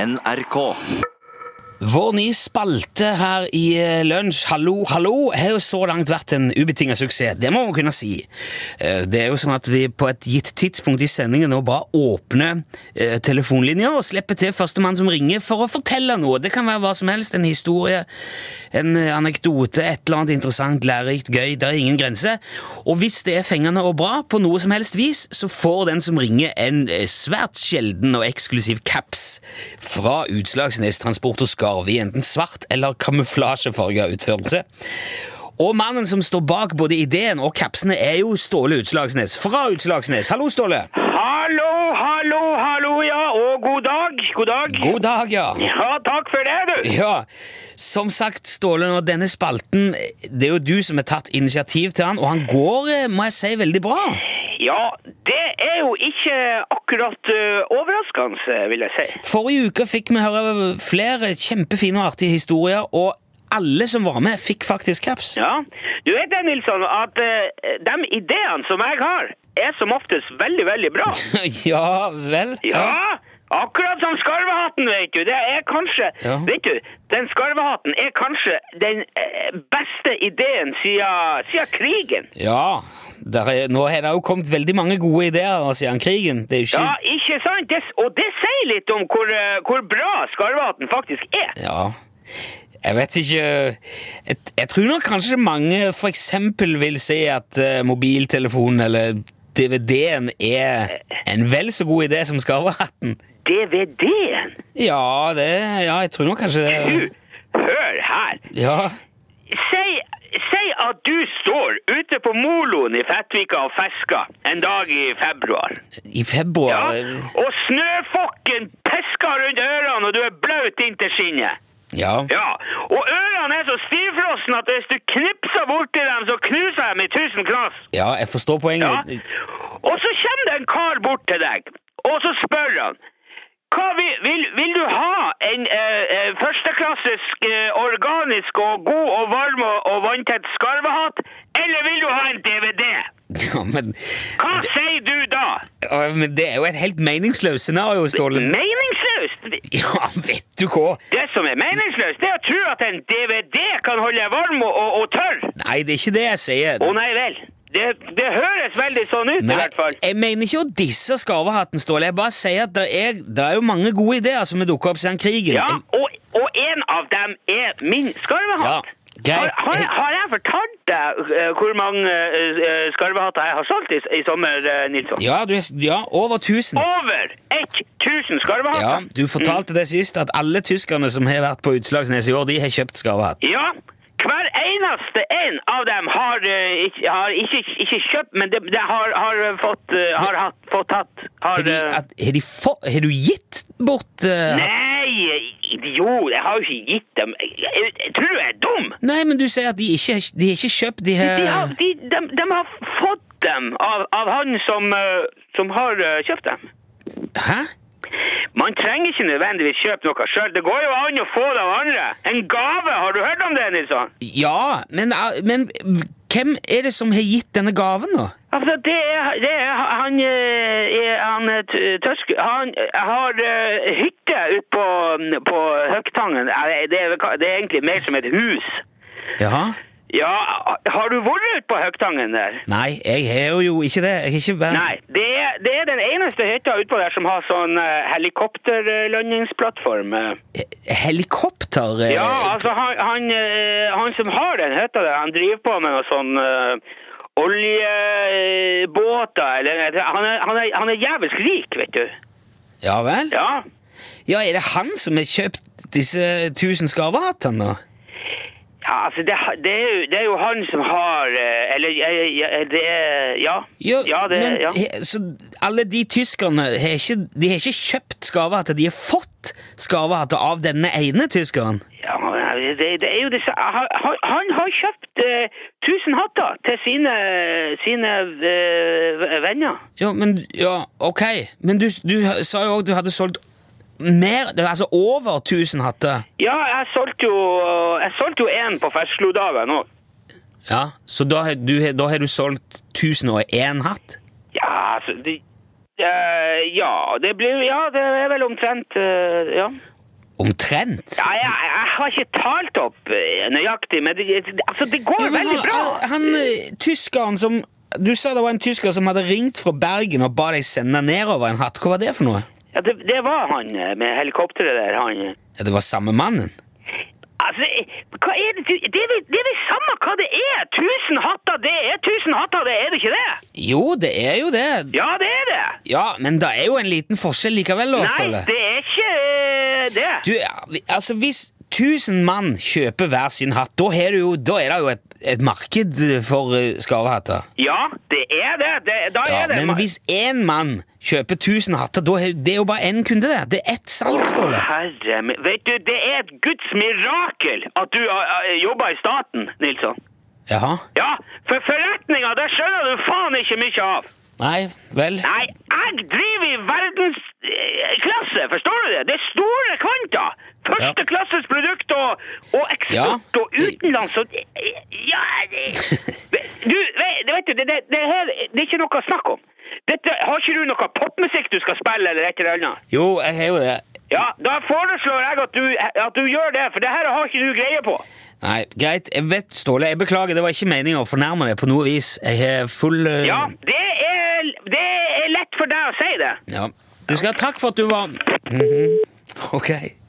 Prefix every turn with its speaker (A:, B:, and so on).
A: NRK.
B: Vår nye spalte her i eh, Lunsj, hallo, hallo, har jo så langt vært en ubetinget suksess. Det må man kunne si. Eh, Det er jo sånn at vi på et gitt tidspunkt i sendingen nå bare åpner eh, telefonlinja og slipper til førstemann som ringer for å fortelle noe. Det kan være hva som helst. En historie, en eh, anekdote, et eller annet interessant, lærerikt, gøy. Det er ingen grenser. Og hvis det er fengende og bra på noe som helst vis, så får den som ringer en eh, svært sjelden og eksklusiv caps fra Utslagsnes Transport og Skarv i enten svart eller kamuflasjefarget utførelse. Og mannen som står bak både ideen og capsene, er jo Ståle Utslagsnes fra Utslagsnes. Hallo, Ståle!
C: Hallo, hallo, hallo, ja, og god dag. God dag.
B: God dag, ja.
C: Ja, takk for det, du.
B: Ja, Som sagt, Ståle, og denne spalten Det er jo du som har tatt initiativ til han, og han går, eh, må jeg si, veldig bra.
C: Ja, det er jo ikke akkurat eh, overraskende, vil jeg si.
B: Forrige uke fikk vi høre flere kjempefine og artige historier, og alle som var med, fikk faktisk caps.
C: Ja, du vet det, Nilsson, at eh, de ideene som jeg har, er som oftest veldig, veldig bra.
B: Ja vel?
C: Ja, akkurat som skarvehatten, vet du. Det er kanskje,
B: Ja.
C: vet du, den skarvehatten er kanskje den eh, beste ideen siden, siden krigen.
B: Ja, der er, Nå har det jo kommet veldig mange gode ideer siden krigen. Det er jo ikke
C: Ja, ikke sant? Det, og det sier litt om hvor, eh, hvor bra skarvehatten faktisk er.
B: Ja. Jeg vet ikke Jeg, jeg tror nok kanskje mange for eksempel vil si at eh, mobiltelefonen eller DVD-en er en vel så god idé som skarvehatten.
C: DVD-en!
B: Ja, det Ja, jeg tror nok kanskje
C: Du,
B: det.
C: hør her.
B: Ja.
C: Si, si at du står ute på moloen i Fettvika og fisker en dag i februar.
B: I
C: Ja,
B: februar
C: og snøfokken pisker rundt ørene, og du er blaut inntil skinnet.
B: Ja.
C: Ja, og ørene er så stivfrosne at hvis du knipser borti dem, så knuser de i tusen knas.
B: ja, jeg forstår poenget.
C: Ja. Og så kommer det en kar bort til deg, og så spør han hva vil, vil, vil du ha en eh, eh, førsteklassisk eh, organisk og god og varm og, og vanntett skarvehatt, eller vil du ha en DVD?
B: Ja, men,
C: Hva sier du da?
B: ja, men det er jo et helt meningsløst scenario, Ståle.
C: Meningsløst!
B: Ja, vet du hva!
C: Det som er meningsløst, det er å tro at en DVD kan holde varm og, og, og tørr.
B: Nei, det er ikke det jeg sier.
C: Å nei vel. Det, det høres veldig sånn ut i hvert fall.
B: jeg mener ikke å disse skarvehatten, Ståle. Jeg bare sier at det er, det er jo mange gode ideer som har dukket opp siden krigen.
C: Ja, og, og en av dem er min skarvehatt.
B: Ja, greit.
C: Har, har, har jeg fortalt deg eh, hvor mange eh, eh, skarvehatter jeg har solgt i, i sommer, eh, Nilsson?
B: Ja, du, er- ja over tusen.
C: Over 1000
B: Ja,
C: skarvehatter.
B: du fortalte det sist at alle tyskerne som har vært på Utslagsnes i år, de har kjøpt skarvehatt.
C: Ja, hver eneste en av dem har, eh, ikke, har ikke, ikke kjøpt, men det, det har, har eh, fått, eh, har hatt, fått hatt. Har,
B: Har, de,
C: eh,
B: at, har, de få, har du gitt bort eh, hatt?
C: Nei, idiot, jeg har jo ikke gitt dem. Jeg, jeg, jeg tror du jeg er dum.
B: Nei, men du sier at de ikke de har ikke kjøpt de har...
C: De har, de, de, de har fått dem av, av han som, eh, som har eh, kjøpt dem.
B: Hæ?
C: Man trenger ikke nødvendigvis kjøpe noe sjøl. Det går jo an å få det av andre. En gave, har du hørt om det, Nilsson?
B: Ja, men, eh, men hvem er det som har gitt denne gaven, da?
C: Altså, det er, det er han, eh, er han eh, t- Tørsk... Han eh, har eh, hytte ute på, på Høgtangen. Nei, Det er, vel ka- det er egentlig mer som et hus.
B: Jaha?
C: Ja, har du vært ute på Høgtangen der?
B: Nei, jeg har jo ikke det. Jeg har ikke vært
C: Nei, det er, det er den eneste hytta utpå der som har sånn eh, helikopterlandingsplattform. eh.
B: Helikopter? eh,
C: Ja, altså han, han, eh, han som har den hytta der, han driver på med noe sånn eh, oljebåter eller eh, Han er, han er, han er jævlig rik, vet du.
B: Ja vel? Ja.
C: Ja.
B: er det han som har kjøpt disse tusen skarvehattene, da?
C: ja altså det, det, er jo, det er jo han som har eh, Eller eh, ja, det er Ja. ja, det,
B: men,
C: ja.
B: he- Så alle de tyskerne har ikke, de har ikke kjøpt skarvehatter, de har fått skarvehatter av denne ene tyskeren?
C: Ja, men det, det er jo disse, han, han- han har kjøpt eh, 1000 hatter til sine, sine eh, venner.
B: Jo, men Ja, ok. Men du, du sa jo òg du hadde solgt mer, det var altså over 1000 hatter.
C: Ja, jeg solgte jo, jeg solgte jo en på fersklodagen nå.
B: Ja, Så da har du, da har du solgt 1001 hatt?
C: Ja, altså, det, eh, ja, det blir, ja, det er vel omtrent eh, ja.
B: Omtrent?
C: ja jeg, jeg har ikke talt opp eh, nøyaktig, men det, altså, det går
B: Ja, men
C: veldig bra.
B: Han, han eh, tyskeren som Du sa det var en tysker som hadde ringt fra Bergen og ba deg sende nedover en hatt. Hva var det for noe?
C: Ja, det, det var han eh, med helikopteret der. han... eh,
B: Ja, det var samme mannen.
C: Altså, eh, hva er det, du- det, er vel, det er vel samme hva det er! Tusen hatter, det er tusen hatter, det er det ikke det?
B: Jo, det er jo det.
C: Ja, det er det!
B: Ja, men det er jo en liten forskjell likevel, da,
C: Nei,
B: Ståle.
C: det er ikke eh, det.
B: Du, ja, vi- altså hvis 1000 mann kjøper hver sin hatt, da er det jo, da er det jo et, et marked for eh, skarvehatter.
C: Ja, det er det. det da
B: Ja,
C: er det
B: men hvis én mann kjøper 1000 hatter, da er det er jo bare én kunde, det. Det er ett salg, Ståle.
C: Herre min Vet du, det er et Guds mirakel at du eh, jobber i staten, Nilsson.
B: Jaha.
C: Ja, for forretninga, det skjønner du faen ikke mye av.
B: Nei, vel.
C: Nei, jeg driver i verdensklasse, forstår du det? Det er store kvanta. Førsteklasses produkt og, og eksport
B: Ja.
C: og utenlands og Ja, det Du, vet, vet du, det, det, det her det er ikke noe å snakke om. Dette, har ikke du noe popmusikk du skal spille, eller et eller annet?
B: Jo, jeg har jo det.
C: Ja, da foreslår jeg at du, at du gjør det, for det her har ikke du greie på.
B: Nei, greit. Jeg vet, Ståle, jeg beklager. Det var ikke meningen å fornærme deg på noe vis. Jeg har full eh,
C: Ja, det er, det er lett for deg å si det.
B: ja. Du skal ha takk for at du var Mhm. Ok.